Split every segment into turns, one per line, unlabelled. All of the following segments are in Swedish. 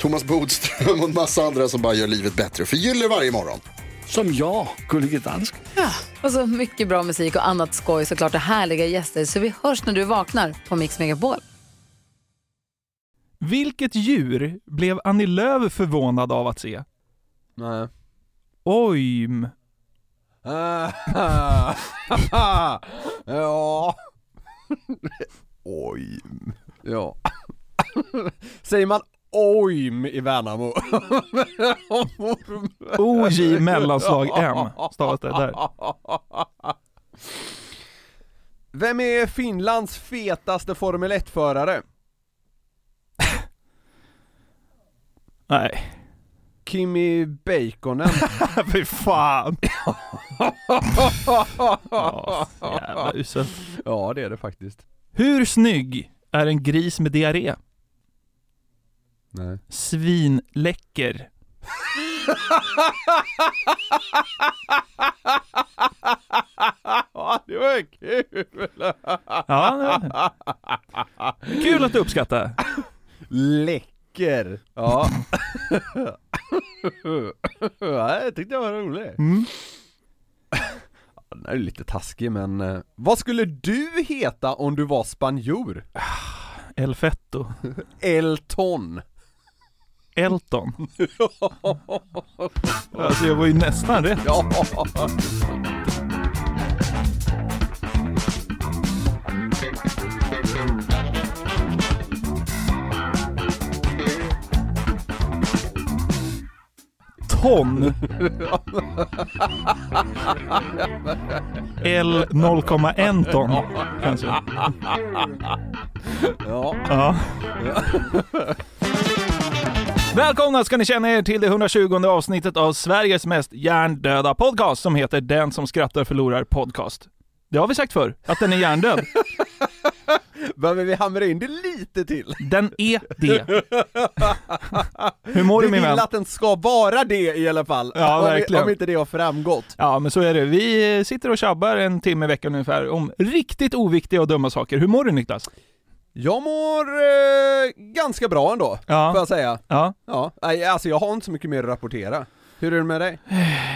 Thomas Bodström och en massa andra som bara gör livet bättre för gillar varje morgon.
Som jag, Gullige Dansk.
Och så mycket bra musik och annat skoj såklart och härliga gäster så vi hörs när du vaknar på Mix Megapol.
Vilket djur blev Annie Lööf förvånad av att se?
Nej.
Ojm.
ja. Oj. Ja. Säger man ojm i Värnamo?
OJ mellanslag M stavas det där.
Vem är Finlands fetaste Formel 1-förare?
Nej,
Kimi Bakonen.
fy fan. Ja, så jävla uselt.
ja, det är det faktiskt.
Hur snygg är en gris med diarré?
Nej.
Svinläcker.
Ja, det var kul!
Ja, det- kul att du uppskattar.
Läcker! Ja. ja jag tyckte jag var rolig.
Mm.
Ja, Den är ju lite taskig men, eh, vad skulle du heta om du var spanjor?
El Fetto.
Elton!
Elton. Alltså jag var ju nästan rätt.
Ja.
ton. L 0,1 ton kanske.
ja.
Ja. Välkomna ska ni känna er till det 120 avsnittet av Sveriges mest hjärndöda podcast som heter Den som skrattar förlorar podcast. Det har vi sagt förr, att den är hjärndöd.
Behöver vi hamra in det lite till?
Den är det. Hur mår du
Vi
min
vill
vän?
att den ska vara det i alla fall.
Ja,
om, vi-
verkligen.
om inte det har framgått.
Ja, men så är det. Vi eh, sitter och tjabbar en timme i veckan ungefär om riktigt oviktiga och dumma saker. Hur mår du Niklas?
Jag mår eh, ganska bra ändå,
Ja.
får jag säga.
Ja.
Ja, nej, alltså jag har inte så mycket mer att rapportera. Hur är det med dig?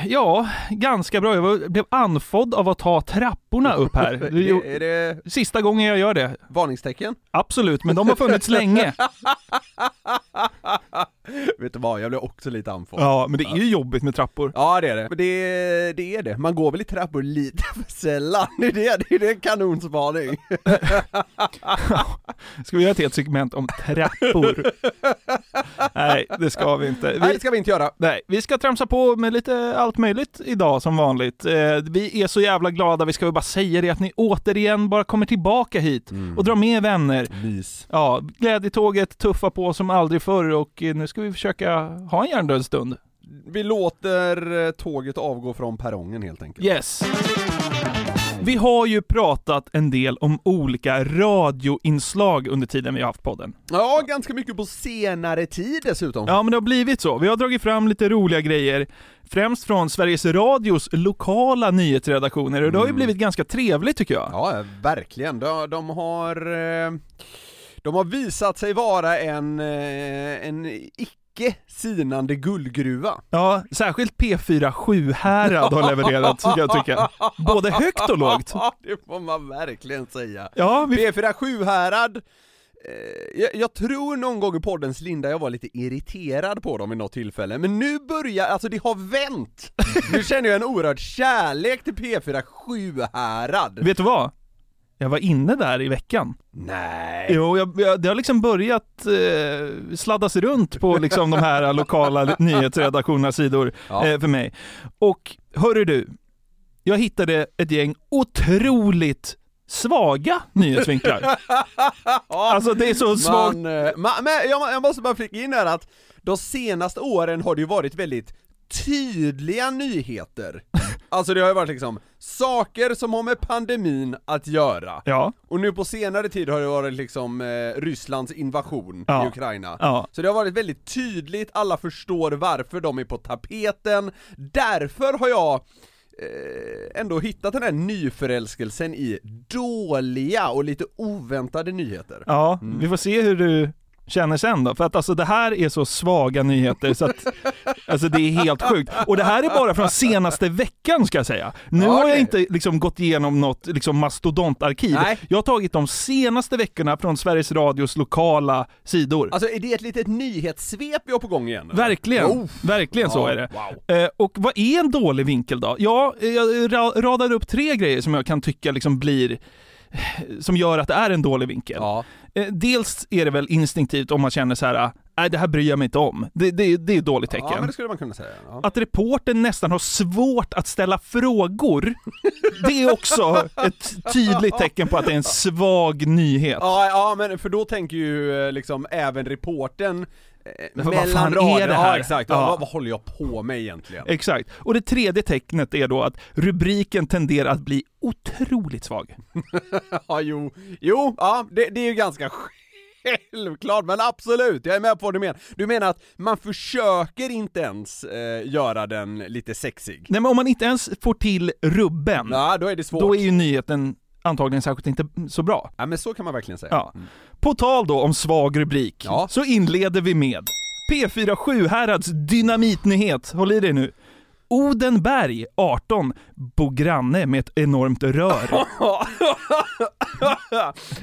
Ja, ganska bra. Jag var, blev anfodd av att ta trapporna upp här. Det,
Det,
gjorde-
är det
sista gången jag gör det.
varningstecken?
Absolut, men de har funnits länge.
Vet du vad, jag blev också lite andfådd. Ja.
Ja, men det är ju jobbigt med trappor.
det är det. Men det, det är det. Man går väl i trappor lite för sällan. Det är det, det, är det en kanonspaning.
Ska vi göra ett helt segment om trappor? Nej, det ska vi inte.
Nej,
Vi,
det ska vi inte göra.
nej, vi ska tramsa på med lite allt möjligt idag som vanligt. Eh, vi är så jävla glada, vi ska väl bara säga det, att ni återigen bara kommer tillbaka hit och drar med vänner.
Mys.
Ja, glädjetåget tuffar på som aldrig förr och eh, nu ska vi försöka ha en hjärndöd stund.
Vi låter eh, tåget avgå från perrongen helt enkelt.
Yes. Vi har ju pratat en del om olika radioinslag under tiden vi har haft podden.
Ja, ganska mycket på senare tid dessutom.
Ja, men det har blivit så. Vi har dragit fram lite roliga grejer, främst från Sveriges Radios lokala nyhetsredaktioner och det har ju blivit ganska trevligt tycker jag.
Ja, verkligen. De, de har... eh, De har visat sig vara en, eh, en icke sinande guldgruva.
Ja, särskilt P4 Sjuhärad har levererat, kan jag tycka. Både högt och lågt.
Ja, det får man verkligen säga.
Ja, vi...
P4 Sjuhärad eh, jag, jag tror någon gång i poddens linda jag var lite irriterad på dem i något tillfälle, men nu börjar, alltså det har vänt! Nu känner jag en oerhörd kärlek till P4 Sjuhärad.
Vet du vad? Jag var inne där i veckan.
Nej.
Jo, jag, jag, det har liksom börjat eh, sladdas runt på liksom de här lokala nyhetsredaktionernas sidor
Ja.
eh, för mig. Och hörru du, jag hittade ett gäng otroligt svaga nyhetsvinklar. alltså det är så svagt.
Man, eh, ma, men jag, jag måste bara flika in här att de senaste åren har det ju varit väldigt tydliga nyheter. Alltså det har ju varit liksom saker som har med pandemin att göra.
Ja,
Och nu på senare tid har det varit liksom eh, Rysslands invasion
Ja.
i Ukraina.
ja.
Så det har varit väldigt tydligt, alla förstår varför de är på tapeten. Därför har jag eh, ändå hittat den här nyförälskelsen i dåliga och lite oväntade nyheter. Mm.
Ja, vi får se hur du känner sen då. För att alltså det här är så svaga nyheter så att alltså det är helt sjukt. Och det här är bara från senaste veckan ska jag säga. Nu
Ja,
har jag
okej.
inte liksom gått igenom något liksom mastodontarkiv.
Nej.
Jag har tagit de senaste veckorna från Sveriges Radios lokala sidor.
Alltså är det ett litet nyhetssvep vi har på gång igen? eller?
Verkligen,
Oh.
verkligen så
Ja,
är det.
wow.
Eh, och vad är en dålig vinkel då? Ja, eh, jag ra- radar upp tre grejer som jag kan tycka liksom blir, som gör att det är en dålig vinkel.
Ja.
Eh, Dels är det väl instinktivt om man känner så här, "Äh, nej det här bryr jag mig inte om. Det, det, det är ett dåligt tecken.
ja, men det skulle man kunna säga. Ja.
Att reporten nästan har svårt att ställa frågor, det är också ett tydligt tecken på att det är en svag nyhet.
Ja, ja, men för då tänker ju eh, liksom även reportern eh,
vad fan
mellan
är
rader,
det här?
ja exakt,
Ja.
ja. Vad, vad håller jag på med egentligen?
Exakt. Och det tredje tecknet är då att rubriken tenderar att bli otroligt svag.
Ja, jo, jo, ja, det, det är ju ganska självklart, men absolut, jag är med på vad du menar. Du menar att man försöker inte ens eh, göra den lite sexig?
Nej men om man inte ens får till rubben,
Ja, då är det svårt.
Mm. då är ju nyheten antagligen särskilt inte så bra.
Ja, men så kan man verkligen säga.
Ja. På tal då om svag rubrik,
Mm. Ja.
så inleder vi med P4 Sjuhärads dynamitnyhet. Håll i dig nu. Odenberg, 18, bor granne med ett enormt rör.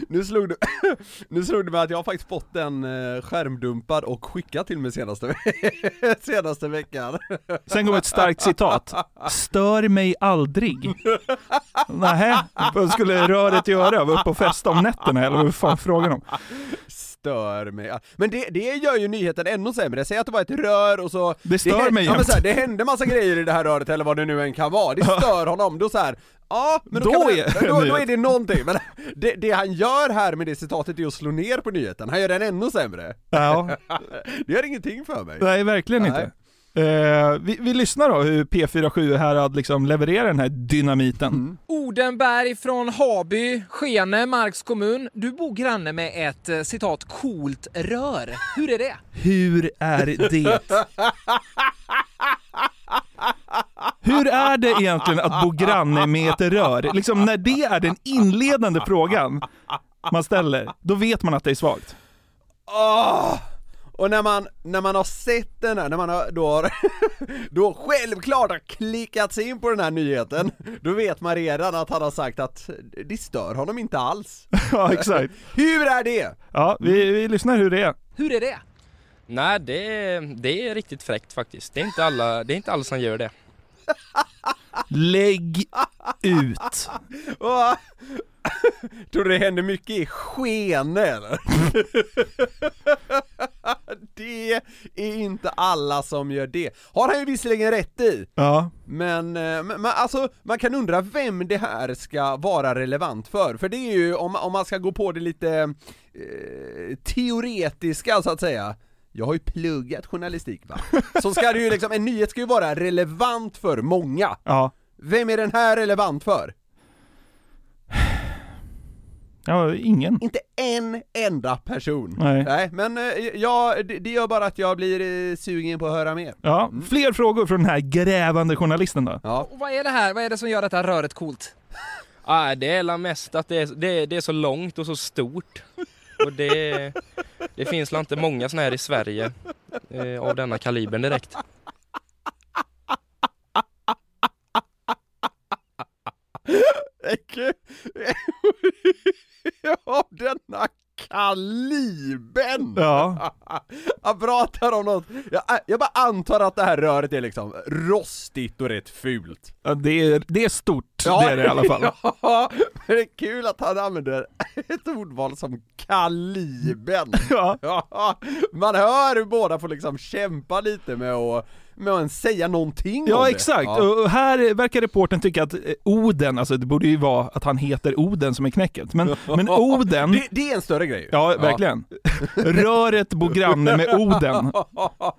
nu, slog du, nu slog du mig att jag har faktiskt fått den eh, skärmdumpad och skickad till mig senaste, ve- senaste veckan.
Sen kommer ett starkt citat. Stör mig aldrig. Nähä, vad skulle röret göra? Vara uppe och festa om nätterna eller vad fan är frågan om?
Stör mig. Ja, Men det, det gör ju nyheten ännu sämre. Säg att det var ett rör och så...
Det stör
hände-
mig
ja, men
jämt.
så här, Det hände massa grejer i det här röret eller vad det nu än kan vara. Det stör honom. Då så här. Ja, men då,
Då
kan man,
är-
då, då är
nyhet.
det någonting. Men det, det han gör här med det citatet är att slå ner på nyheten. Han gör den ännu sämre.
Ja,
Det gör ingenting för mig.
nej verkligen
Typ. Nej.
inte. Eh, vi, vi lyssnar då hur P4 Sjuhärad liksom levererar den här dynamiten.
Odenberg från Haby, Skene, Marks kommun. Du bor granne med ett eh, citat coolt rör. Hur är det?
Hur är det? Hur är det egentligen att bo granne med ett rör? Liksom när det är den inledande frågan man ställer, då vet man att det är svagt.
Åh! Och när man, när man har sett den här, när man har, då har, då självklart har klickat sig in på den här nyheten, då vet man redan att han har sagt att det stör honom inte alls.
Ja, exakt.
Hur är det?
Ja, vi, vi lyssnar hur det är.
Hur är det?
Nej, det är, det är riktigt fräckt faktiskt. Det är inte alla, det är inte alla som gör det.
Lägg ut.
Och, tror du det händer mycket i Skene eller? det är inte alla som gör det. Har han ju visserligen rätt i,
Ja,
Men, eh, men, men alltså, man kan undra vem det här ska vara relevant för, för det är ju, om, om man ska gå på det lite eh, teoretiska så att säga, jag har ju pluggat journalistik va? Så ska det ju liksom, en nyhet ska ju vara relevant för många.
ja.
Vem är den här relevant för?
Ja, ingen.
Inte en enda person.
Nej.
men eh, ja, det, det gör bara att jag blir eh, sugen på att höra mer.
Ja, fler frågor från den här grävande journalisten då.
Ja.
Och vad är det här? Vad är det som gör detta röret coolt?
Nej, det är la mest att det är, det, är, det är så långt och så stort. Och det, det finns la inte många såna här i Sverige eh, av denna kalibern direkt.
Äcke- Ja, denna Kaliben!
Ja.
Han pratar om något, jag, jag bara antar att det här röret är liksom rostigt och rätt fult.
Ja, det, är, det är stort, det är det i alla fall.
Ja, men det är kul att han använder ett ordval som Kaliben.
Ja.
Man hör hur båda får liksom kämpa lite med att, med att ens säga någonting om
Ja
det.
exakt,
Ja.
och här verkar reporten tycka att eh, Oden, alltså det borde ju vara att han heter Oden som är knäcket, men, men Oden...
Det, det är en större grej.
Ja, verkligen. Röret bor granne med Oden.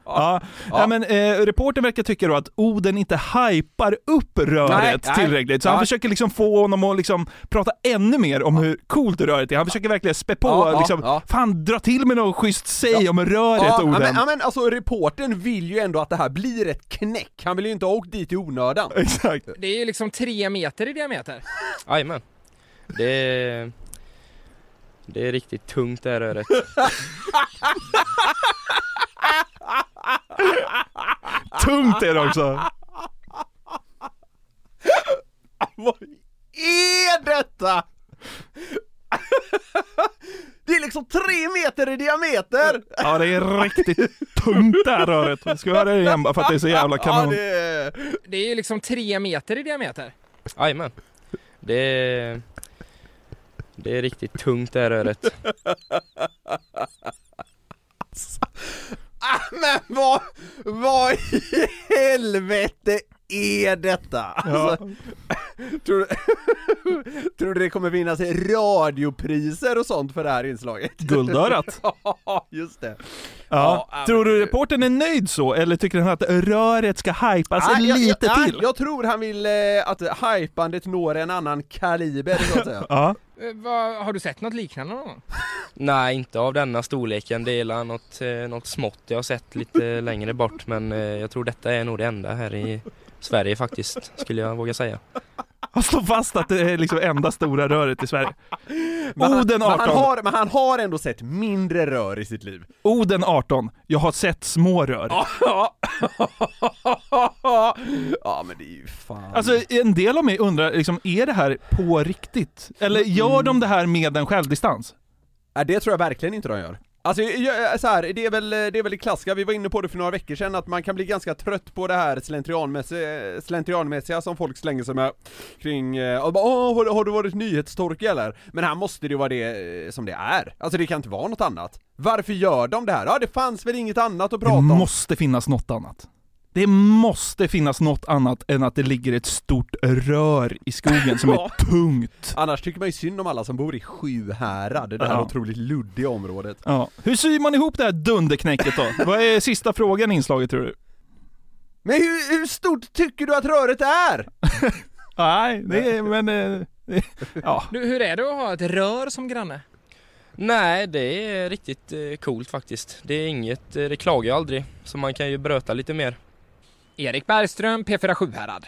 Ja. Nej, men eh, reporten verkar tycka då att Oden inte hypar upp röret
Nej, nej.
tillräckligt, så han
Ja.
försöker liksom få honom att liksom prata ännu mer om hur coolt röret är. Han försöker verkligen spä på,
Ja, ja,
liksom,
ja.
fan dra till med något schysst säg om röret
Ja,
Oden.
men, ja, men alltså reportern vill ju ändå att det här blir ett knäck, han vill ju inte ha åkt dit i onödan.
Exakt.
Det är ju liksom tre meter i diameter.
Jajamän. Det är, det är riktigt tungt det här röret.
Tungt är det också.
Vad är detta? Det är liksom tre meter i diameter!
Ja det är riktigt tungt det här röret. Ska vi höra det igen bara för att det är så jävla
Ja,
kanon?
det är...
Det är ju liksom tre meter i diameter.
Jajamän. Det är, det är riktigt tungt det här röret.
Ah, men vad, vad i helvete är detta? Alltså, tror, du, tror du det kommer vinnas radiopriser och sånt för det här inslaget?
Guldörat.
Ja, just det.
Ja.
Ja,
Tror
men-
du reportern är nöjd så, eller tycker han att röret ska hypas
Nej, Ah, jag-
lite
jag, nej,
till?
Jag tror han vill eh, att hypandet når en annan kaliber, så att säga.
Ja.
Eh, vad- har du sett något liknande någon gång?
Nej, inte av denna storleken. Det är la något, eh, något smått jag har sett lite längre bort. Men eh, jag tror detta är nog det enda här i Sverige faktiskt, skulle jag våga säga.
Han står fast att det är liksom enda stora röret i Sverige.
Men han,
Oden
men, han
18.
har, men han har ändå sett mindre rör i sitt liv.
Oden 18. Jag har sett små rör.
Ja, ja men det är ju fan...
Alltså en del av mig undrar, liksom, är det här på riktigt? Eller gör
Mm.
de det här med en självdistans?
Nej, det tror jag verkligen inte de gör. Alltså jag, så här, det är väl det är väl det klassiska, vi var inne på det för några veckor sedan, att man kan bli ganska trött på det här slentrianmässiga, slentrianmässiga som folk slänger sig med kring, eh, och bara, Åh, har, har du varit nyhetstorka eller? Men här måste det ju vara det eh, som det är. Alltså det kan inte vara något annat. Varför gör de det här? Ja, det fanns väl inget annat att prata
Det
om?
måste finnas något annat. Det måste finnas något annat än att det ligger ett stort rör i skogen som
Ja.
är tungt.
Annars tycker man ju synd om alla som bor i Sjuhärad, det här
Ja.
otroligt luddiga området.
Ja. Hur syr man ihop det här dunderknäcket då? Vad är sista frågan i inslaget tror du?
Men hur, hur stort tycker du att röret är?
Nej, det är, men... eh, det- Ja.
Du, hur är det att ha ett rör som granne?
Nej, det är riktigt eh, coolt faktiskt. Det är inget, eh, det klagar jag aldrig. Så man kan ju bröta lite mer.
Erik Bergström, P4 Sjuhärad.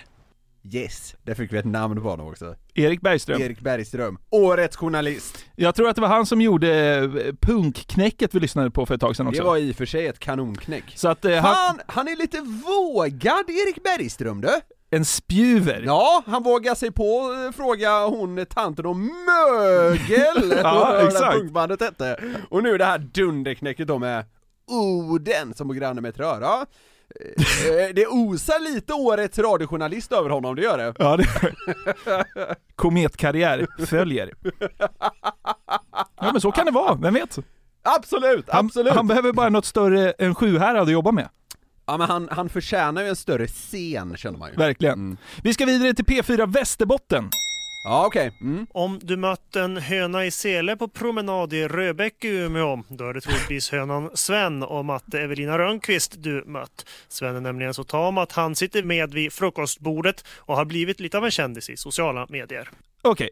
Yes, där fick vi ett namn på honom också.
Erik Bergström.
Erik Bergström, årets journalist.
Jag tror att det var han som gjorde eh, punkknäcket vi lyssnade på för ett tag sedan också.
Det var i och för sig ett kanonknäck.
Så att eh, han...
Han, han är lite vågad, Erik Bergström du!
En spjuver.
Ja, han vågar sig på eh, fråga hon tanten om mögel,
Ja,
vad det här
exakt.
punkbandet hette. Och nu det här dunderknäcket då med Oden som är granne med ett rör. Ja. Eh, Det osar lite årets radiojournalist över honom, det gör det.
Ja, det Kometkarriär följer. Ja men så kan det vara, vem vet?
Absolut,
Han,
absolut!
han behöver bara något större än Sjuhärad att jobba med.
ja men han, han förtjänar ju en större scen känner man ju.
Verkligen. Vi ska vidare till P4 Västerbotten.
Ja okej. Mm.
Om du mött en höna i sele på promenad i Röbäck i Umeå, då är det troligtvis hönan Sven och matte Evelina Rönnqvist du mött. Sven är nämligen så tam att han sitter med vid frukostbordet och har blivit lite av en kändis i sociala medier.
Okej.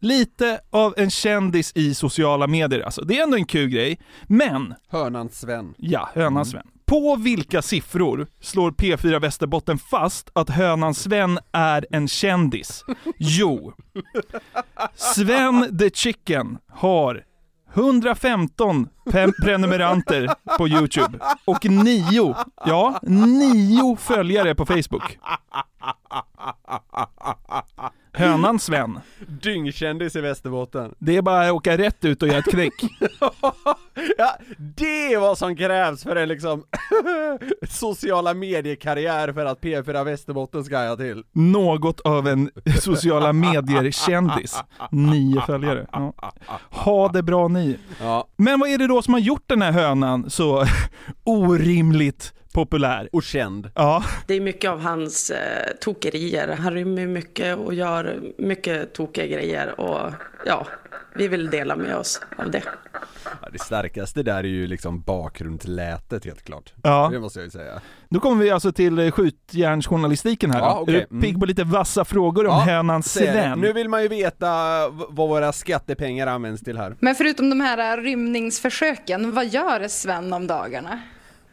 Lite av en kändis i sociala medier alltså. Det är ändå en kul grej. Men,
Hörnan Sven.
ja, hönan Sven. På vilka siffror slår P4 Västerbotten fast att hönan Sven är en kändis? Jo, Sven the Chicken har 115 pe- prenumeranter på Youtube och nio, ja, nio följare på Facebook. Hönan Sven
dyngkändis i Västerbotten.
Det är bara att åka rätt ut och göra ett knäck.
Ja, det är vad som krävs för en liksom sociala mediekarriär för att P4 Västerbotten ska jag till.
Något av en sociala medier-kändis. Nio följare. Ja. Ha det bra ni. Men vad är det då som har gjort den här hönan så orimligt populär?
Och känd.
Ja.
Det är mycket av hans eh, tokerier. Han rymmer mycket och gör mycket tokiga grejer. Och ja, vi vill dela med oss av det.
Ja, det starkaste där är ju liksom bakgrundslätet helt klart.
Ja.
Det måste jag ju säga.
Nu kommer vi alltså till eh, skjutjärnsjournalistiken här.
Ja,
då.
okej. Mm.
Är du pigg på lite vassa frågor om hönan
Säg det.
Sven?
Nu vill man ju veta v- vad våra skattepengar används till här.
Men förutom de här rymningsförsöken, vad gör Sven om dagarna?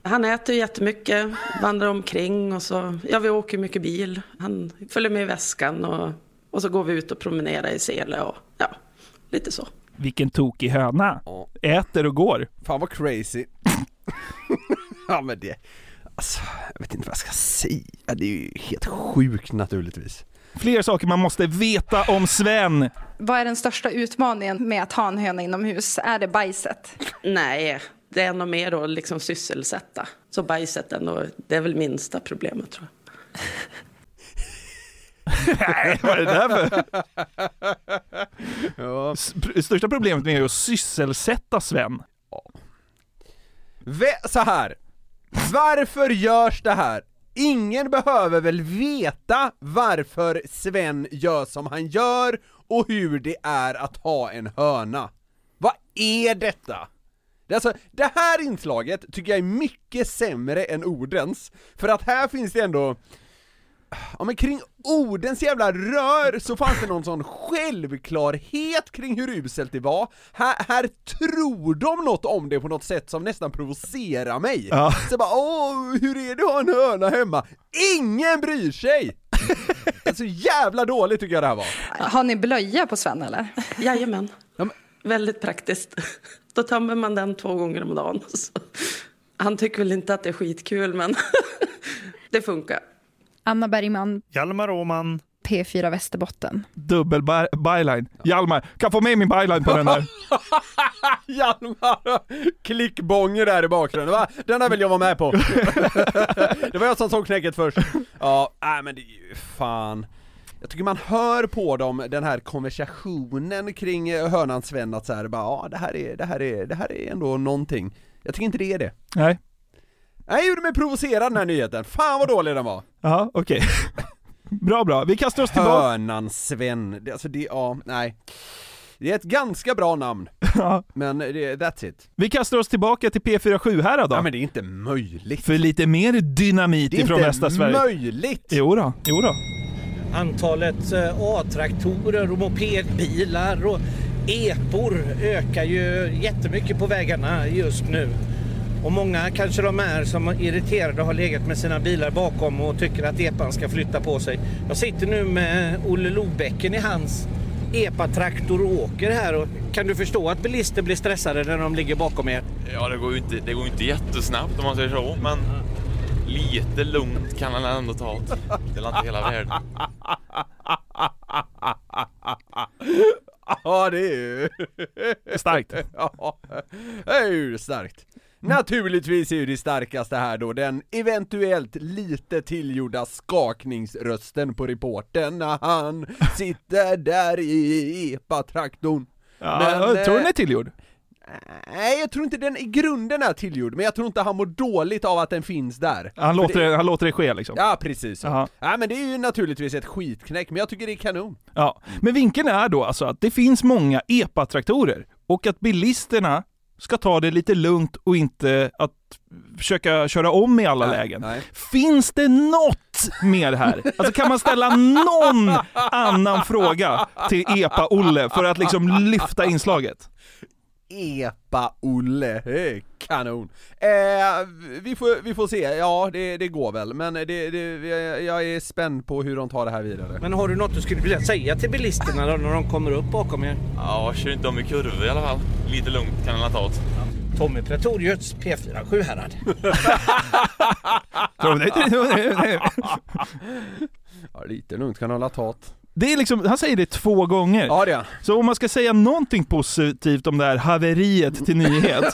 Han äter jättemycket, vandrar omkring och så, ja vi åker mycket bil. Han följer med i väskan och, och så går vi ut och promenerar i Sele och ja, lite så.
Vilken tokig höna. Äter och går.
Fan vad crazy. ja men det, alltså jag vet inte vad jag ska säga. Det är ju helt sjukt naturligtvis.
Fler saker man måste veta om Sven.
Vad är den största utmaningen med att ha en höna inomhus? Är det bajset?
Nej, det är nog mer att liksom sysselsätta. Så bajset ändå, det är väl minsta problemet tror jag.
Nej, vad är det där för? S- pr- Största problemet med är att sysselsätta Sven.
Vä- så här. Varför görs det här? Ingen behöver väl veta varför Sven gör som han gör och hur det är att ha en höna. Vad är detta? Det, är alltså, det här inslaget tycker jag är mycket sämre än ordens, för att här finns det ändå Ja men kring ordens jävla rör så fanns det någon sån självklarhet kring hur uselt det var, här, här tror de något om det på något sätt som nästan provocerar mig!
Ja.
Så jag bara åh, hur är det att ha en höna hemma? Ingen bryr sig! det är så jävla dåligt tycker jag det här var!
Har ni blöja på Sven eller?
Jajamän, väldigt praktiskt. Då tömmer man den två gånger om dagen. Så. Han tycker väl inte att det är skitkul men det funkar.
Anna Bergman,
Hjalmar Åman.
P4 Västerbotten.
Dubbel by- byline. Hjalmar, kan få med min byline på den här?
Hjalmar! Klickbånger där i bakgrunden va? Den där vill jag vara med på! det var jag som såg knäcket först. Ja, nej men det är ju fan. Jag tycker man hör på dem den här konversationen kring eh, hönan Sven att så här, bara ja det här är, det här är, det här är ändå någonting. Jag tycker inte det är det.
Nej.
Nej, jag gjorde mig provocerad den här nyheten. Fan vad dålig den var!
Ja, okej. Bra, bra. Vi kastar oss tillbaka.
Hönan Sven, det, alltså det, ja, nej. Det är ett ganska bra namn. Men det, that's it.
Vi kastar oss tillbaka till P47 här då. Ja,
men det är inte möjligt.
För lite mer dynamit
Det är
ifrån
inte
västra Sverige.
möjligt.
Jo då, jo då.
Antalet eh, A-traktorer och mopedbilar och epor ökar ju jättemycket på vägarna just nu. Och många kanske de är som är irriterade har legat med sina bilar bakom och tycker att epan ska flytta på sig. Jag sitter nu med Olle Lobäcken i hans epatraktor och åker här. Och kan du förstå att bilister blir stressade när de ligger bakom er?
Ja, det går ju inte, det går ju inte jättesnabbt om man säger så, men lite lugnt kan han ändå ta det. Det är inte hela världen.
Ja det är ju...
Starkt.
ja, det är ju starkt. Naturligtvis är ju det starkaste här då den eventuellt lite tillgjorda skakningsrösten på reportern när han sitter där i epatraktorn.
Ja, jag tror den är
eh,
tillgjord.
Nej, jag tror inte den i grunden är tillgjord, men jag tror inte han mår dåligt av att den finns där.
Han
För
låter,
det...
det... han låter det ske liksom.
Ja, precis så.
Jaha.
Ja, men det är ju naturligtvis ett skitknäck, men jag tycker det är kanon.
Ja, men vinkeln är då alltså att det finns många epatraktorer och att bilisterna ska ta det lite lugnt och inte att försöka köra om i alla lägen. Finns det något mer här? Alltså kan man ställa någon annan fråga till Epa-Olle för att liksom lyfta inslaget?
Epa-Olle, Eh, kanon! Eh, vi, får, vi får se, ja det, det går väl, men det, det, jag- jag är spänd på hur de tar det här vidare.
Men har du något du skulle vilja säga till bilisterna då när de kommer upp bakom er?
Ja, kör inte om i kurvor i alla fall. Lite lugnt kan han ta det.
Tommy Pretorius, P4 Sjuhärad.
Ja, lite lugnt kan hålla tat.
Det är liksom, han säger det två gånger.
Ja, det
så om man ska säga någonting positivt om det här haveriet till nyhet,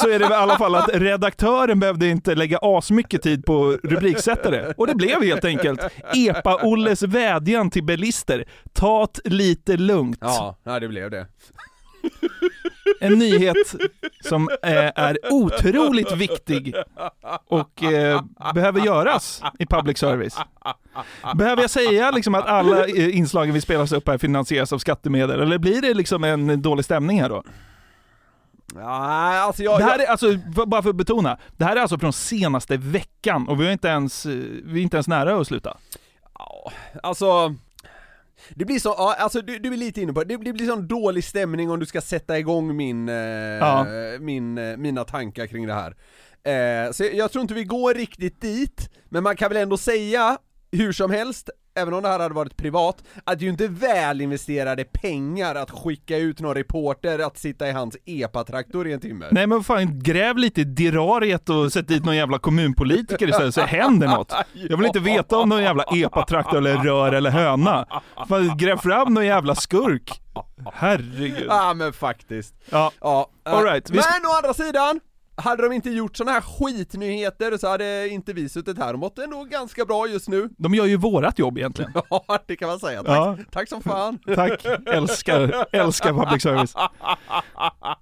så är det väl i alla fall att redaktören behövde inte lägga asmycket tid på rubriksättare. Och det blev helt enkelt Epa-Olles vädjan till bilister. Tat lite lugnt.
Ja, nej, det blev det.
En nyhet som eh, är otroligt viktig och eh, behöver göras i public service. Behöver jag säga liksom att alla eh, inslagen vi spelar upp här finansieras av skattemedel, eller blir det liksom en dålig stämning här då?
Nej, alltså jag...
Det här
jag-
är alltså, f- bara för att betona, det här är alltså från senaste veckan och vi är inte ens, eh, vi är inte ens nära att sluta.
Alltså, det blir så, ja, alltså du, du är lite inne på det, det blir sån dålig stämning om du ska sätta igång min, eh,
Ja.
min, eh, mina tankar kring det här. Eh, så jag, jag tror inte vi går riktigt dit, men man kan väl ändå säga, hur som helst, även om det här hade varit privat, att det är ju inte väl investerade pengar att skicka ut någon reporter att sitta i hans epa-traktor i en timme.
Nej men vad fan, gräv lite i dirariet och sätt dit någon jävla kommunpolitiker istället så händer något. Jag vill inte veta om någon jävla epatraktor eller rör eller höna. Fan, gräv fram någon jävla skurk. Herregud.
Ja men faktiskt.
Ja,
ja eh,
all right. Vi ska-
Men å andra sidan, hade de inte gjort såna här skitnyheter så hade inte vi suttit här och mått ändå ganska bra just nu.
De gör ju vårat jobb egentligen.
Ja, det kan man säga. Tack,
Ja.
tack som fan.
Tack. Älskar- älskar public service.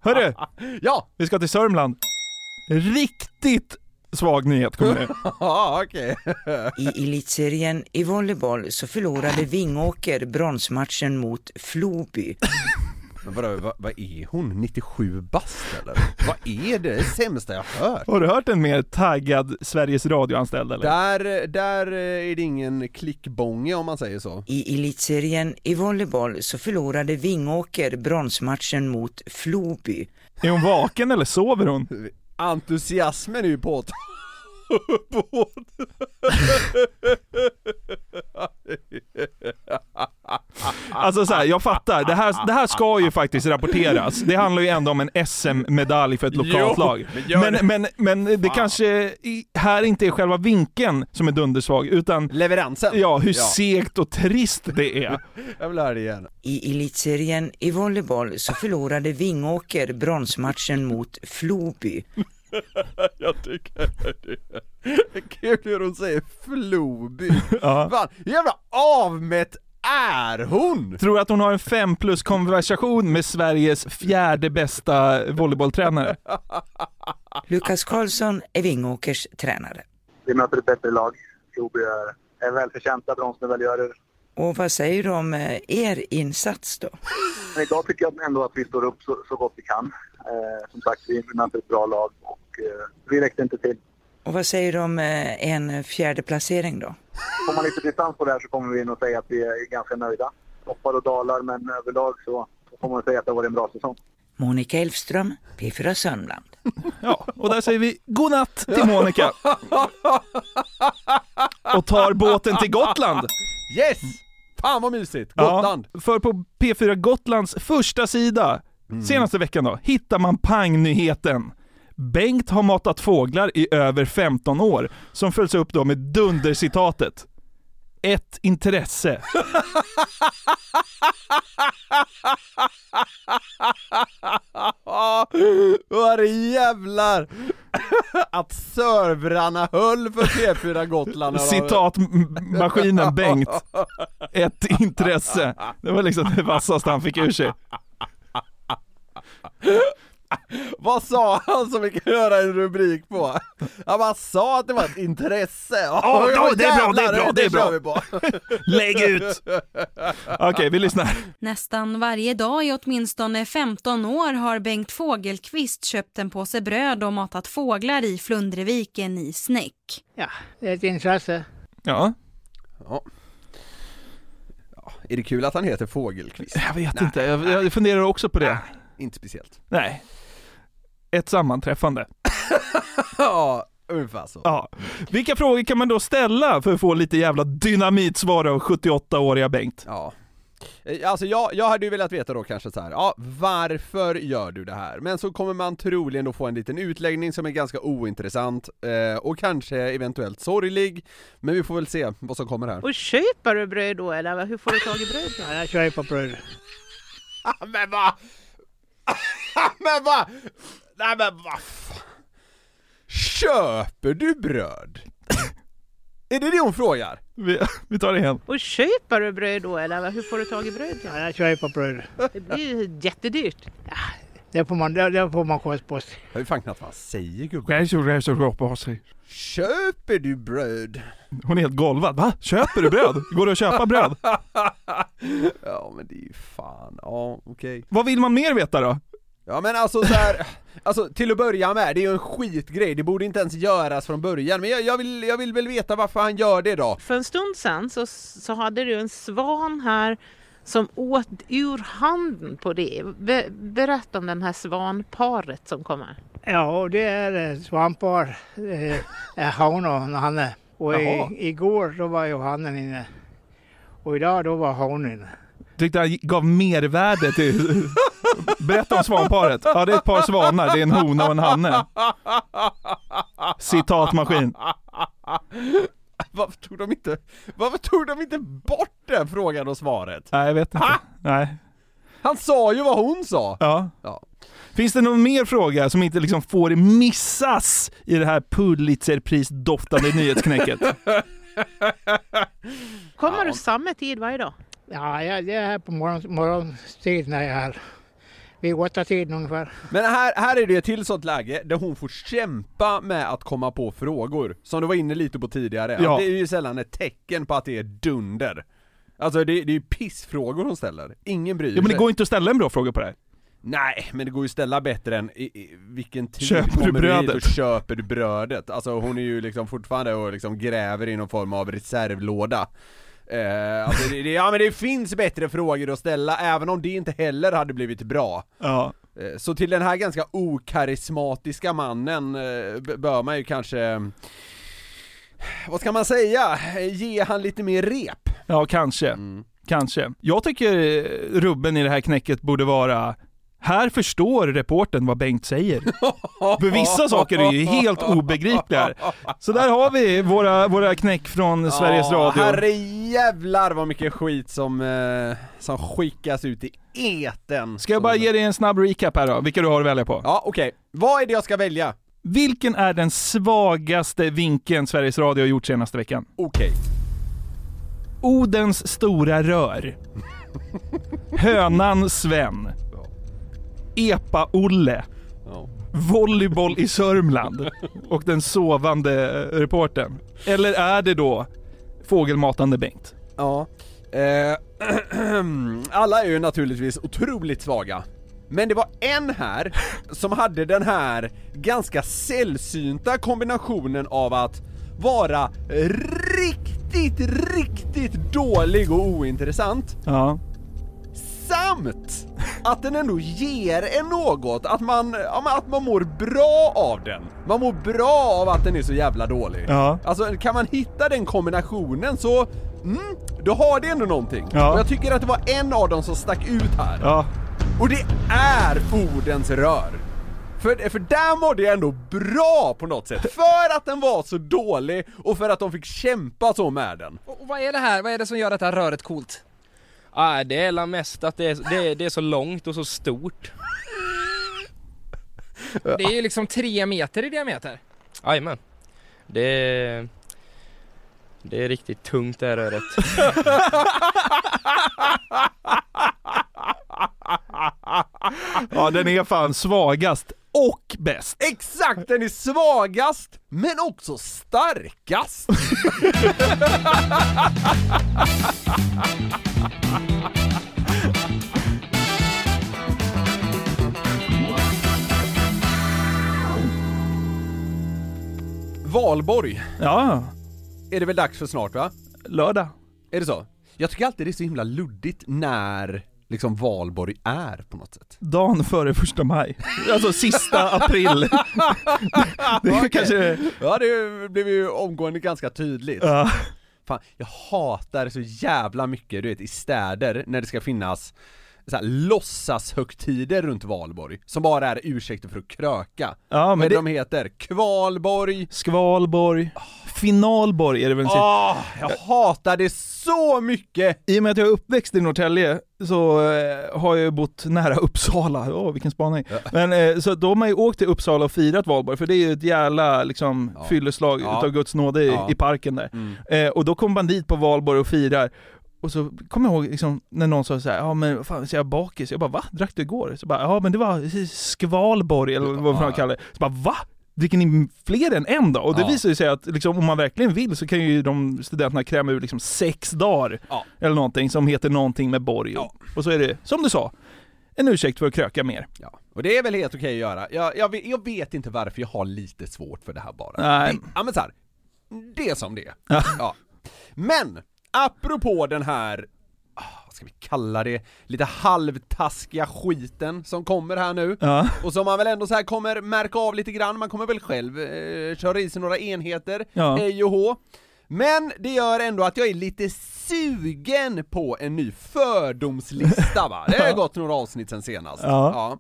Hörru!
Ja!
Vi ska till Sörmland. Riktigt svag nyhet kommer det.
Ja, okej.
I elitserien i volleyboll så förlorade Vingåker bronsmatchen mot Floby.
Men vadå, vad, vad är hon? 97 bast eller? Vad är det? Det är det sämsta jag hört.
Har du hört en mer taggad Sveriges Radio-anställd eller?
Där, där eh, är det ingen klickbånge om man säger så.
I elitserien i volleyboll så förlorade Vingåker bronsmatchen mot Floby.
Är hon vaken eller sover hon?
Entusiasmen är ju påt... påt...
Alltså så här, jag fattar. Det här, det här ska ju faktiskt rapporteras. Det handlar ju ändå om en SM-medalj för ett lokalt
Jo,
lag.
men gör
Men,
det.
men, men det kanske i- här inte är själva vinkeln som är dundersvag, utan...
Leveransen?
Ja, hur
Ja.
segt och trist det är.
Jag vill höra det igen.
I elitserien i volleyboll så förlorade Vingåker bronsmatchen mot Floby.
Jag tycker det är kul hur hon säger Floby.
Ja.
Fan, hur jävla avmätt är hon?
Tror du att hon har en 5 plus konversation med Sveriges fjärde bästa volleybolltränare?
Lukas Karlsson är Vingåkers tränare.
Vi möter ett bättre lag. Floby är, är välförtjänta bronsmedaljörer.
Och vad säger du om eh, er insats då?
Men idag tycker jag ändå att vi står upp så, så gott vi kan. Eh, som sagt, vi möter ett bra lag och eh, vi räckte inte till.
Och vad säger du om eh, en fjärde placering då?
Får man lite distans på det här så kommer vi nog säga att vi är ganska nöjda. Toppar och dalar, men överlag så, så får man säga att det har varit en bra säsong.
Monica Elfström, P4 Sörmland.
Och där säger vi godnatt till Monica. Och tar båten till Gotland.
Yes! Fan vad mysigt! Gotland!
Ja, för på P4 Gotlands första sida, senaste veckan då, hittar man pangnyheten. Bengt har matat fåglar i över 15 år, som följs upp då med dundercitatet. Ett intresse.
Ja. Vad det jävlar! Att servrarna höll för P4 Gotland.
Citatmaskinen Bengt. Ett intresse. Det var liksom det vassaste han fick ur sig.
Vad sa han som vi kan göra en rubrik på? Han bara sa att det var ett intresse.
Ja,
Oj,
då, det är bra,
jävlar,
det är bra, det är
kör
bra.
vi på.
Lägg ut! Okej, vi lyssnar.
Nästan varje dag i åtminstone 15 år har Bengt Fågelqvist köpt en påse bröd och matat fåglar i Flundreviken i Snäck.
Ja, det är ett intresse.
Ja.
ja. Är det kul att han heter Fågelqvist?
Jag vet inte, jag, jag funderar också på det.
Inte speciellt.
Nej. Ett sammanträffande.
Ja, ungefär så.
Ja. Vilka frågor kan man då ställa för att få lite jävla dynamitsvar av 78-åriga Bengt?
Ja. Eh, Alltså jag, jag hade ju velat veta då kanske så här, ja varför gör du det här? Men så kommer man troligen då få en liten utläggning som är ganska ointressant eh, och kanske eventuellt sorglig. Men vi får väl se vad som kommer här.
Och köper du bröd då eller hur får du tag i bröd?
Nej, jag köper bröd.
men vad?
men vad? Nej men vad Köper du bröd? är det det hon frågar?
Vi, vi tar det igen.
Och köper du bröd då eller hur får du tag i bröd?
Ja, jag köper bröd.
Det blir ju jättedyrt.
Det får man, det, det får man kost på.
Jag vet fan knappt vad han säger gubben.
Köper
Köper du bröd?
Hon är helt golvad. Va? Köper du bröd? Går det att köpa bröd?
Ja men det är ju fan, ja okej.
Vad vill man mer veta då?
Ja men alltså så här, alltså till att börja med, det är ju en skitgrej, det borde inte ens göras från början, men jag, jag, vill, jag vill väl veta varför han gör det då?
För en stund sedan så, så hade du en svan här som åt ur handen på dig. Be, berätta om den här svanparet som kommer.
Ja, det är eh, svampar, eh, eh, hane och hanne. Och i,
Jaha.
igår då var ju hannen inne. Och idag då var hanen inne.
Tyckte han gav mervärde till... Berätta om svanparet. Ja, det är ett par svanar. Det är en hona och en hanne. Citatmaskin.
Varför tog de inte, varför tog de inte bort den frågan och svaret?
Nej, jag vet inte. Nej.
Han sa ju vad hon sa!
Ja. Finns det någon mer fråga som inte liksom får missas i det här Pulitzerpris-doftande nyhetsknäcket?
Kommer du samma tid varje dag?
Ja, jag, det är här på morgon, morgonstid när jag är här. Vid åtta tiden ungefär.
Men här, här är det ett till sånt läge där hon får kämpa med att komma på frågor, som du var inne lite på tidigare.
Ja.
Det är ju sällan ett tecken på att det är dunder. Alltså det, det är ju pissfrågor hon ställer, ingen bryr sig.
Ja, men det går inte att ställa en bra fråga på det här.
Nej, men det går ju att ställa bättre än i, i, vilken tid
Köper du
kommer du hit och
brödet?
köper du brödet? Alltså hon är ju liksom fortfarande och liksom gräver i någon form av reservlåda. Eh, alltså det, det, ja men det finns bättre frågor att ställa, även om det inte heller hade blivit bra.
Ja.
Eh, Så till den här ganska okarismatiska mannen eh, b- bör man ju kanske, eh, vad ska man säga, Eh, ge han lite mer rep.
Ja, kanske.
Mm.
Kanske. Jag tycker eh, rubben i det här knäcket borde vara här förstår reporten vad Bengt säger. För vissa saker är ju helt obegripliga. här. Så där har vi våra, våra knäck från Sveriges
Ja,
Radio.
Herre jävlar vad mycket skit som, eh, som skickas ut i eten.
Ska jag bara ge dig en snabb recap här då, vilka du har att välja på?
Ja, okej. Vad är det jag ska välja?
Vilken är den svagaste vinkeln Sveriges Radio har gjort senaste veckan?
Okej.
Odens stora rör. Hönan Sven. Epa-Olle. Volleyboll i Sörmland. Och den sovande eh, reportern. Eller är det då fågelmatande Bengt?
Ja. Eh, alla är ju naturligtvis otroligt svaga. Men det var en här som hade den här ganska sällsynta kombinationen av att vara riktigt, riktigt dålig och ointressant
Ja.
samt att den ändå ger en något, att man, ja, men att man mår bra av den. Man mår bra av att den är så jävla dålig.
Ja.
Alltså kan man hitta den kombinationen så, mm, då har det ändå någonting.
Ja.
Och jag tycker att det var en av dem som stack ut här.
Ja.
Och det är Odens rör. För, för där mådde jag ändå bra på något sätt. För att den var så dålig och för att de fick kämpa så med den.
Och vad är det här? Vad är det som gör detta röret coolt?
Ah, det är la mest att det är, det, är, det är så långt och så stort.
Det är ju liksom tre meter i diameter.
Jajamän. Det är, det är riktigt tungt det här röret.
Ja, den är fan svagast och bäst.
Exakt, den är svagast men också starkast. Valborg.
Ja.
Är det väl dags för snart va?
Lördag.
Är det så? Jag tycker alltid det är så himla luddigt när liksom valborg är på något sätt.
Dagen före första maj. Alltså sista april. Det är
Okej.
kanske...
Ja det blev ju omgående ganska tydligt.
Ja.
Fan, jag hatar så jävla mycket, du vet, i städer när det ska finnas så här, låtsashögtider runt valborg, som bara är ursäkter för att kröka.
Ja, men
Vad är det...
det-
de heter? Kvalborg
Skvalborg, Finalborg är det väl?
Åh, Ah, jag hatar det så mycket!
I och med att jag är uppväxt i Norrtälje så eh, har jag ju bott nära Uppsala, åh vilken spaning. Men eh, så då har man ju åkt till Uppsala och firat valborg, för det är ju ett jävla liksom, fylleslag
Ja.
utav Guds nåde i,
Ja.
i parken där.
Mm.
Eh, och då kom man dit på valborg och firar. Och så kommer jag ihåg liksom, när någon sa såhär, ja men vad fan, så är jag bakis? Jag bara va? Drack du igår? Så bara, ja men det var skvalborg eller vad man kallar det. Så bara va? Dricker ni fler än en då? Och det
Ja.
visar ju sig att liksom, om man verkligen vill så kan ju de studenterna kräma ur liksom sex dagar eller någonting som heter någonting med borg. Och så är det, som du sa, en ursäkt för att kröka mer.
Och det är väl helt okej att göra. Jag, jag, vet, jag vet inte varför jag har lite svårt för det här bara.
Nej.
Det, ja men så här, det är som det är. ja. Men, apropå den här, ah, vad ska vi kalla det, lite halvtaskiga skiten som kommer här nu.
Ja.
Och som man väl ändå så här kommer märka av lite grann, man kommer väl själv eh, köra i sig några enheter,
Ja.
ej och hå. Eh, Men det gör ändå att jag är lite sugen på en ny fördomslista va? Det har ju gått några avsnitt sen senast.
Ja.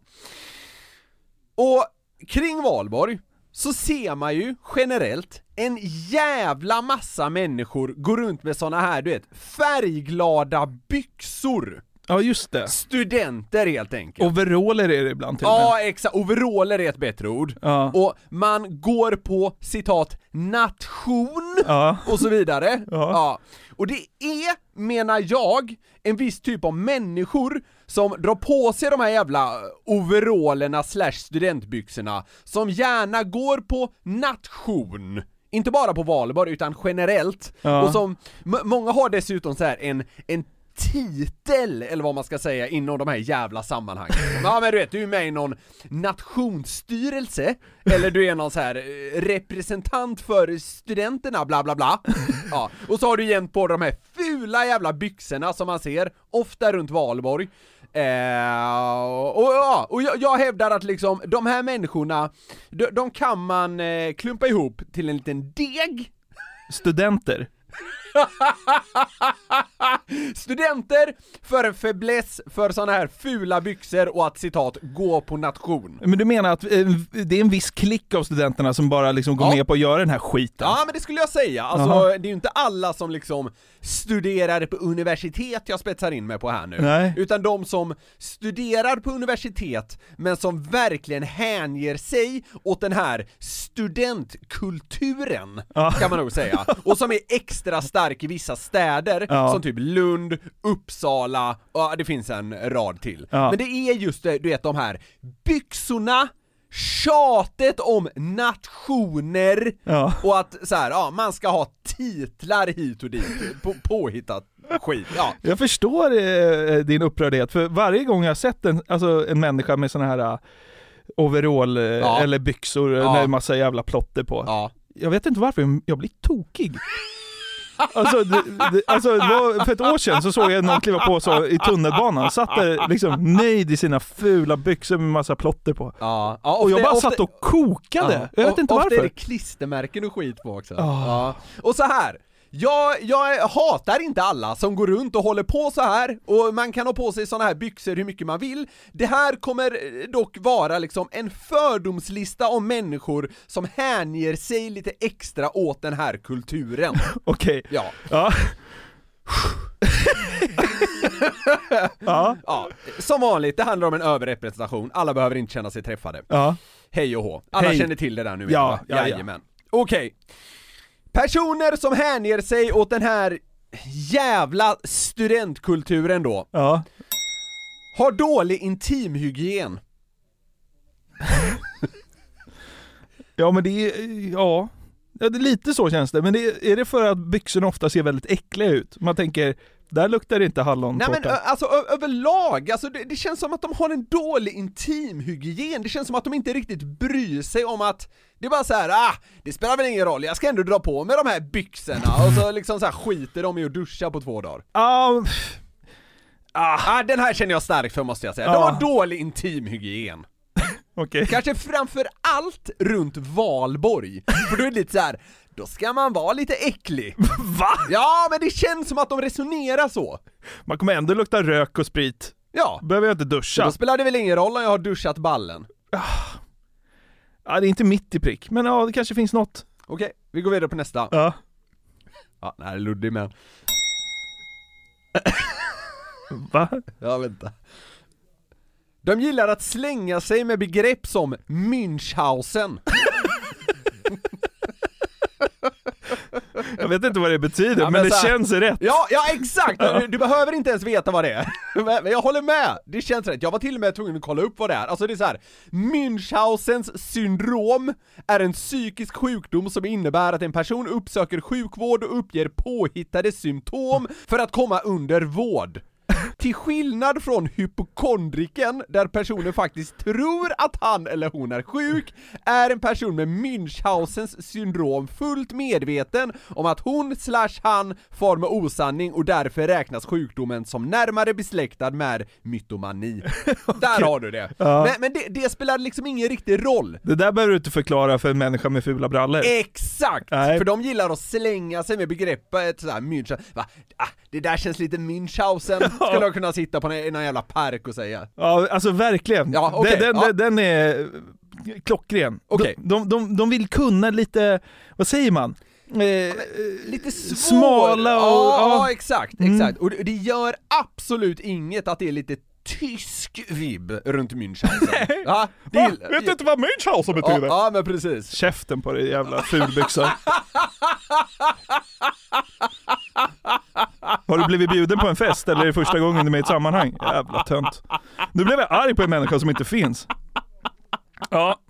Och kring valborg så ser man ju generellt en jävla massa människor gå runt med såna här, du vet, färgglada byxor.
Ja just det.
Studenter helt enkelt.
Overaller är det ibland till och med.
Ja, exakt. Overaller är ett bättre ord. Och man går på citat nation och så vidare. Ja. Och det är, menar jag, en viss typ av människor som drar på sig de här jävla overallerna slash studentbyxorna, som gärna går på nation. Inte bara på valborg utan generellt.
Ja.
Och som, m- många har dessutom så här en, en titel, eller vad man ska säga, inom de här jävla sammanhangen. Ja men du vet, du är med i någon nationsstyrelse, eller du är någon så här eh, representant för studenterna, bla bla bla. Ja, och så har du jämt på de här fula jävla byxorna som man ser, ofta runt valborg. Eh, och ja, och jag, jag hävdar att liksom de här människorna, de, de kan man eh, klumpa ihop till en liten deg
Studenter.
Studenter för en fäbless för såna här fula byxor och att citat gå på nation.
Men du menar att eh, det är en viss klick av studenterna som bara liksom går med på att göra den här skiten?
Ja men det skulle jag säga, alltså
Jaha.
det är ju inte alla som liksom studerar på universitet jag spetsar in mig på här nu.
Nej.
Utan de som studerar på universitet men som verkligen hänger sig åt den här studentkulturen, kan man nog säga. Och som är extra stark i vissa städer,
Ja.
som typ Lund, Uppsala, och det finns en rad till.
Ja.
Men det är just det, du vet de här byxorna, tjatet om nationer och att så här, ja, man ska ha titlar hit och dit, på, påhittat skit. Ja.
Jag förstår eh, din upprördhet, för varje gång jag har sett en, alltså, en människa med såna här eh, overall eh,
Ja.
eller byxor
Ja.
med massa jävla plotter på. Jag vet inte varför, men jag blir tokig. Alltså, det, det, alltså det var för ett år sedan så såg jag någon kliva på så i tunnelbanan, satt där liksom nöjd i sina fula byxor med massa plotter på.
Ja,
och, jag bara satt och kokade, jag vet inte
Ofta är det
varför.
klistermärken och skit på också.
Ah.
Ja. Och så här. Jag, jag hatar inte alla som går runt och håller på så här och man kan ha på sig såna här byxor hur mycket man vill. Det här kommer eh, dock vara liksom en fördomslista om människor som hänger sig lite extra åt den här kulturen.
Okej.
Ja.
Ja. ja.
ja. Som vanligt, det handlar om en överrepresentation, alla behöver inte känna sig träffade.
Ja.
Hej och hå. Alla
Hej.
känner till det där nu
Ja,
va?
ja, ja.
Jajamän. Okej. Personer som hänger sig åt den här jävla studentkulturen då.
Ja.
Har dålig intimhygien.
Ja men det är, ja. ja det är lite så känns det. Men det är, är det för att byxorna ofta ser väldigt äckliga ut? Man tänker, där luktar det inte
Nej
hallontårta.
men ö- alltså ö- överlag, alltså det, det känns som att de har en dålig intimhygien, det känns som att de inte riktigt bryr sig om att det är bara så här, ah, det spelar väl ingen roll, jag ska ändå dra på mig de här byxorna och så liksom så här skiter de i att duscha på två dagar. Ah, den här känner jag starkt för måste jag säga. De
Ja.
har dålig intimhygien. Kanske framför allt runt valborg, för då är det lite så här. då ska man vara lite äcklig.
Va?
Ja, men det känns som att de resonerar så.
Man kommer ändå lukta rök och sprit.
Ja.
Behöver jag inte duscha.
Då spelar det väl ingen roll om jag har duschat ballen?
Ja, det är inte mitt i prick, men ja, det kanske finns något.
Okej, vi går vidare på nästa.
Ja.
Ja, den här är luddig men...
Va?
Ja, vänta. De gillar att slänga sig med begrepp som Münchhausen.
Jag vet inte vad det betyder,
Ja,
men, det
så här-
känns rätt.
Ja, ja exakt!
Ja.
Du, du behöver inte ens veta vad det är. Men men jag håller med, det känns rätt. Jag var till och med tvungen att kolla upp vad det är. Alltså det är så här. Münchhausens syndrom är en psykisk sjukdom som innebär att en person uppsöker sjukvård och uppger påhittade symptom för att komma under vård. Till skillnad från hypokondriken, där personen faktiskt tror att han eller hon är sjuk, är en person med Münchhausens syndrom fullt medveten om att hon slash han far med osanning och därför räknas sjukdomen som närmare besläktad med mytomani. Där har du det!
Ja.
Men, men det, det spelar liksom ingen riktig roll.
Det där behöver du inte förklara för en människa med fula brallor.
Exakt!
Nej.
För de gillar att slänga sig med begreppet sådär Münchhausen, va? Ah, det där känns lite Münchhausen, skulle de kunna sitta på en- någon jävla park och säga.
Ja, alltså verkligen.
Ja, okej,
den, den,
ja.
den är klockren.
Okej.
De, de, de, de vill kunna lite, vad säger man? Eh,
lite svår.
smala och-
Ja,
ja. Mm.
ja, exakt, exakt. Och det, det gör absolut inget att det är lite tysk vibb runt Münchhausen. ja, det
Va?
gillar-
Vet du inte vad Münchhausen betyder?
Ja, ja men precis.
Käften på dig jävla fulbyxa. Har du blivit bjuden på en fest eller är det första gången du är med i ett sammanhang? Jävla tönt. Nu blev jag arg på en människa som inte finns. Ja.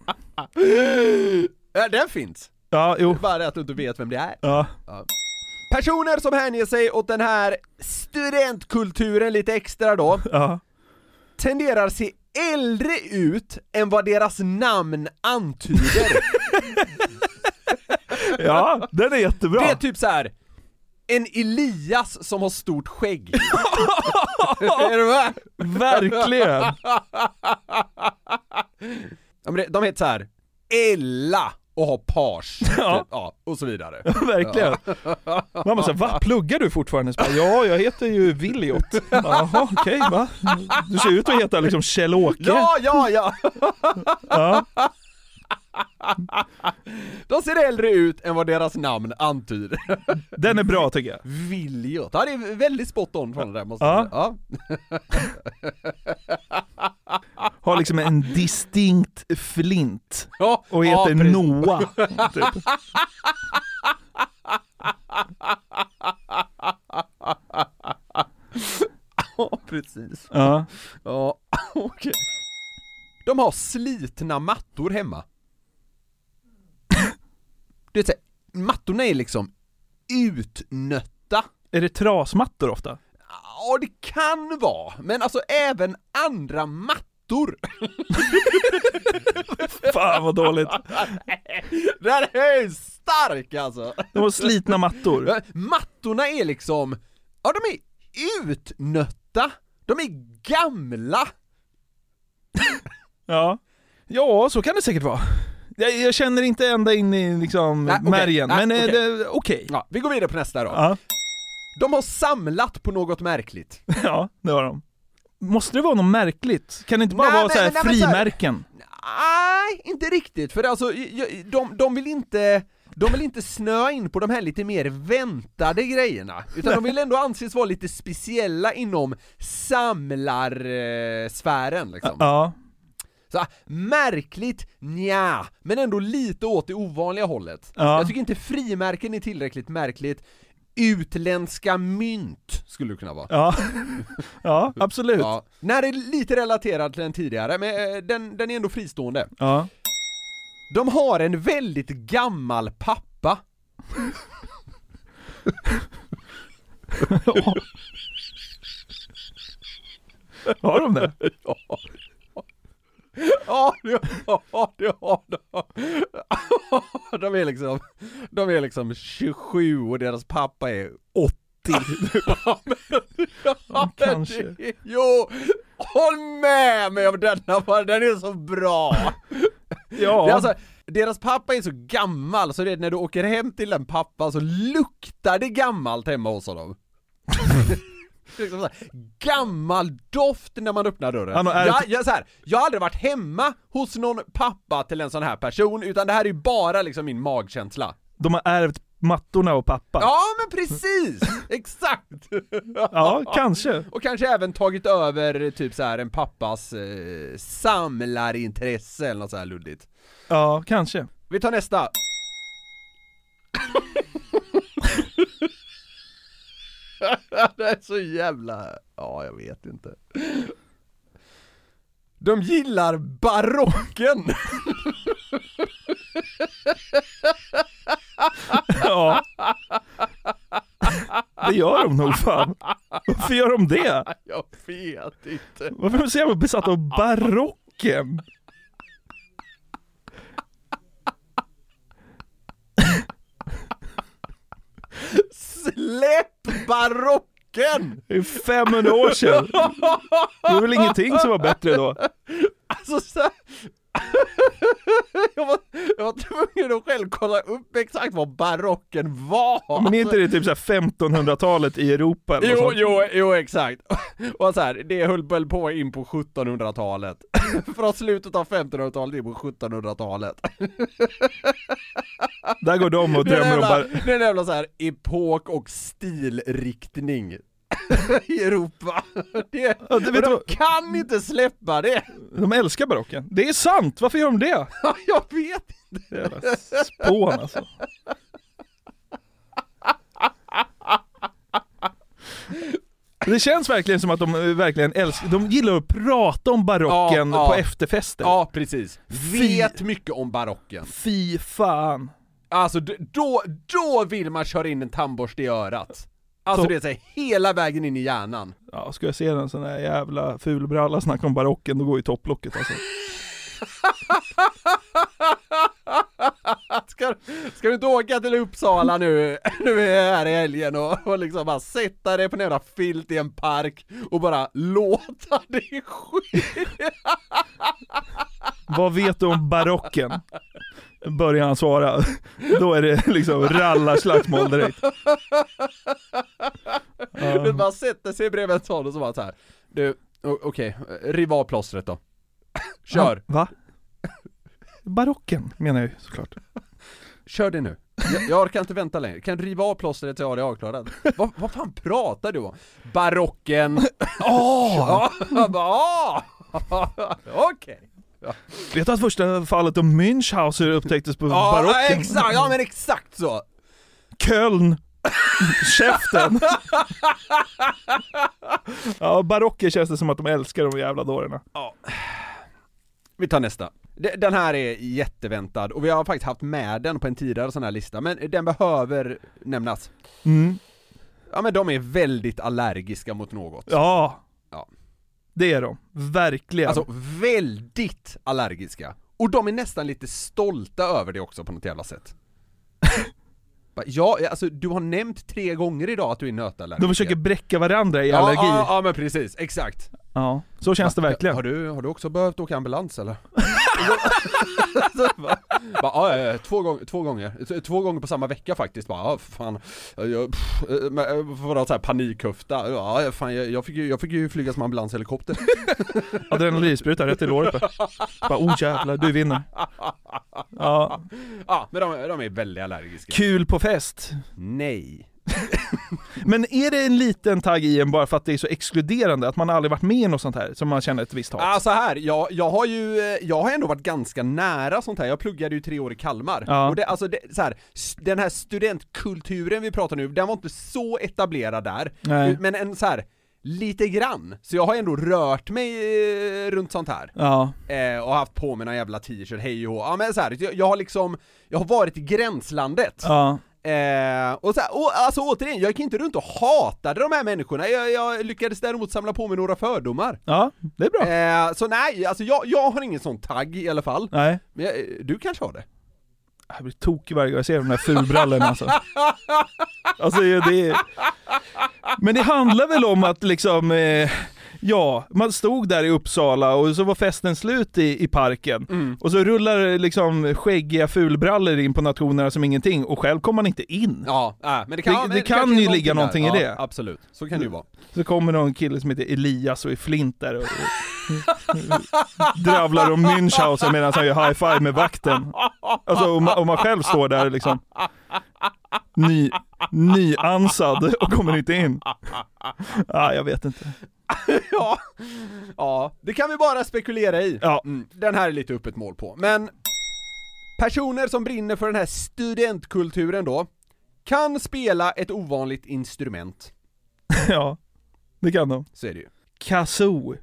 Ja, den finns.
Ja, jo.
Det är Bara det att du inte vet vem det är.
Ja.
Ja. Personer som hänger sig åt den här studentkulturen lite extra då,
Ja.
tenderar se äldre ut än vad deras namn antyder.
ja, den är jättebra.
Det är typ så här. En Elias som har stort skägg. är du med?
Verkligen.
Ja, men det- de heter så här. Ella och har page.
Ja.
Typ. ja, och så vidare.
Ja, verkligen. Mamma sa, va pluggar du fortfarande? Så bara, ja, jag heter ju Williot. Jaha, okej va? Du ser ut att heta liksom Kjell-Åke.
Ja, ja, ja!
Ja.
De ser äldre ut än vad deras namn antyder.
Den är bra tycker jag.
Viljot. Ja, det är väldigt spot on från det där måste
Ja.
jag säga.
Har liksom en distinkt flint.
Ja.
Och
ja,
heter
precis.
Noah. Typ.
Ja, precis.
Ja.
Ja, okej. De har slitna mattor hemma. Du vet, så här, mattorna är liksom utnötta.
Är det trasmattor ofta?
Ja, det kan vara, men alltså även andra mattor.
Fan vad dåligt.
Det här är ju stark alltså!
De har slitna mattor.
Ja, Mattorna är liksom, ja de är utnötta, de är gamla!
Ja. Ja, så kan det säkert vara. Jag, jag känner inte ända in i liksom
Nej, okej.
märgen,
Nej,
men eh,
okej.
det- okej.
Ja, vi går vidare på nästa då.
Ja.
De har samlat på något märkligt.
Ja, det har de. Måste det vara något märkligt? Kan det inte bara
Nej,
vara
men-
så här
men- men så här-
frimärken?
Nej, inte riktigt, för alltså, jag- de, de vill inte de vill inte snöa in på de här lite mer väntade grejerna, utan de vill ändå anses vara lite speciella inom samlarsfären liksom.
Ja.
Så ah, märkligt, nja, men ändå lite åt det ovanliga hållet.
Ja.
Jag tycker inte frimärken är tillräckligt märkligt. Utländska mynt skulle det kunna vara.
Ja. ja, absolut.
Ja. Den här är lite relaterad till den tidigare, men eh, den, den är ändå fristående.
Ja.
De har en väldigt gammal pappa.
Har de det?
Ja. Ja, det har det har de. De är liksom, de är liksom 27 och deras pappa är 80. Ja, men, ja, men
kanske.
det- Jo, Håll med mig om denna bara, den är så bra! Det är alltså, deras pappa är så gammal så det är när du åker hem till den pappan så luktar det gammalt hemma hos honom. Det är liksom så här, gammal doft när man öppnar dörren.
Han har ärvt-
Jag, jag, så här, jag har aldrig varit hemma hos någon pappa till en sån här person, utan det här är ju bara liksom min magkänsla.
De har ärvt mattorna och pappa.
Ja men precis! Exakt!
Ja, kanske.
Och kanske även tagit över typ så här en pappas eh, samlarintresse eller något så här luddigt.
Ja, kanske.
Vi tar nästa. det är så jävla... Ja, jag vet inte. De gillar barocken!
Ja. Det gör de nog fan. Varför gör de det?
Jag vet inte.
Varför är de så jävla besatta av barocken?
Släpp barocken!
Det är 500 år sedan. Det var väl ingenting som var bättre då?
Alltså så här... jag, var, jag var tvungen att själv kolla upp exakt vad barocken var!
Men är inte det typ så här 1500-talet i Europa eller något
Jo,
sånt?
jo, jo exakt. Och så här, det höll väl på in på 1700-talet. Från slutet av 1500-talet in på 1700-talet.
Där går de och
Det är en
drömmer om
jävla,
bara...
det är en jävla så här epok och stilriktning. I Europa. Det,
Ja, det vet
och de
du-
kan inte släppa det!
De älskar barocken. Det är sant! Varför gör de det?
Jag vet inte!
Jävla spån alltså. Det känns verkligen som att de eh, verkligen älskar, de gillar att prata om barocken
Ja, ja.
på efterfester.
Ja, precis.
Fy-
Vet mycket om barocken.
Fy fan.
Alltså d- då, då vill man köra in en tandborste i örat. Alltså
Så-
det är så här, hela vägen in i hjärnan.
Ja, ska jag se en sån här jävla fulbralla snacka om barocken, då går ju topplocket alltså.
Ska, ska du inte åka till Uppsala nu, nu är här i helgen och, och liksom bara sätta dig på en jävla filt i en park och bara låta det ske?
Vad vet du om barocken? Börjar han svara. Då är det liksom rallarslagsmål direkt.
Du bara sätter sig bredvid en sån och så bara så här. du, o- okej, riv av plåstret då. Kör!
Ja, va? Barocken menar jag ju såklart.
Kör det nu. Jag, jag orkar inte vänta längre. Kan du riva av plåstret så jag har det avklarat. Vad, vad fan pratar du om? Barocken!
Åh!
Jag bara, "Ah." Okej!
Vet du att första fallet om Münchhauser upptäcktes på
Ja,
barocken?
exakt, ja men exakt så!
Köln! Käften! ja, barocker känns det som att de älskar de jävla dårarna.
Vi tar nästa. De- Den här är jätteväntad och vi har faktiskt haft med den på en tidigare sån här lista, men den behöver nämnas.
Mm.
Ja men de är väldigt allergiska mot något.
Ja.
Ja.
Det är de. Verkligen.
Alltså väldigt allergiska. Och de är nästan lite stolta över det också på något jävla sätt. Bara, ja, alltså du har nämnt tre gånger idag att du är nötallergiker.
de försöker bräcka varandra i
ja,
allergi.
Ja,
Ja,
ja men precis, exakt.
så känns det verkligen.
Har du, har du också behövt åka ambulans eller? Så bara, bara, ja, ja, ja, två, gång, två gånger, T- två gånger på samma vecka faktiskt bara, ja, fan, jag, pff, eh, men, eh, vadå såhär panikhöfta, ja ja, fan jag, jag, fick ju, jag fick ju flyga som ambulanshelikopter
Adrenalinspruta rätt i låret bara. bara. Oh jävlar, du vinner. Ja.
Ja, men de, de är väldigt allergiska
Kul på fest.
Nej
Men är det en liten tagg i en bara för att det är så exkluderande? Att man aldrig varit med i något sånt här som man känner ett visst hat?
Ja, så här, jag, jag har ju, eh, jag har ändå varit ganska nära sånt här, jag pluggade ju tre år i Kalmar,
Ja.
och det, alltså det, så här, s- den här studentkulturen vi pratar nu, den var inte så etablerad där,
Nej.
men en så här lite grann, så jag har ändå rört mig eh, runt sånt här.
Ja.
Eh, och haft på mig några jävla t-shirt, hej och hå. Ja men så här, jag, jag har liksom, jag har varit i gränslandet.
Ja.
Eh, och så här, och, alltså återigen, jag gick inte runt och hatade de här människorna, jag, jag lyckades däremot samla på mig några fördomar.
Ja, det är bra.
Eh, så nej, alltså jag, jag har ingen sån tagg i alla fall.
Nej.
Men jag, eh, du kanske har det?
Jag blir tokig varje gång jag ser de där fulbrallorna alltså. Alltså det är... Men det handlar väl om att liksom eh, Ja, man stod där i Uppsala och så var festen slut i, i parken. Och så rullar det liksom skäggiga fulbrallor in på nationerna som ingenting och själv kom man inte in.
Ja, äh, men det kan, men
det, kan
kanske
ju
är
ligga någonting
där.
i
Ja,
det.
Absolut, så kan det ju vara.
Så kommer någon kille som heter Elias och är flint där och, och dravlar om Münchhausen medan han gör high-five med vakten. Alltså om man, om man själv står där liksom ny, nyansad och kommer inte in. Ja, jag vet inte.
ja. ja, det kan vi bara spekulera i. Mm. Den här är lite öppet mål på, men personer som brinner för den här studentkulturen då, kan spela ett ovanligt instrument.
Ja, det kan de.
Så är det ju.
Kazoo.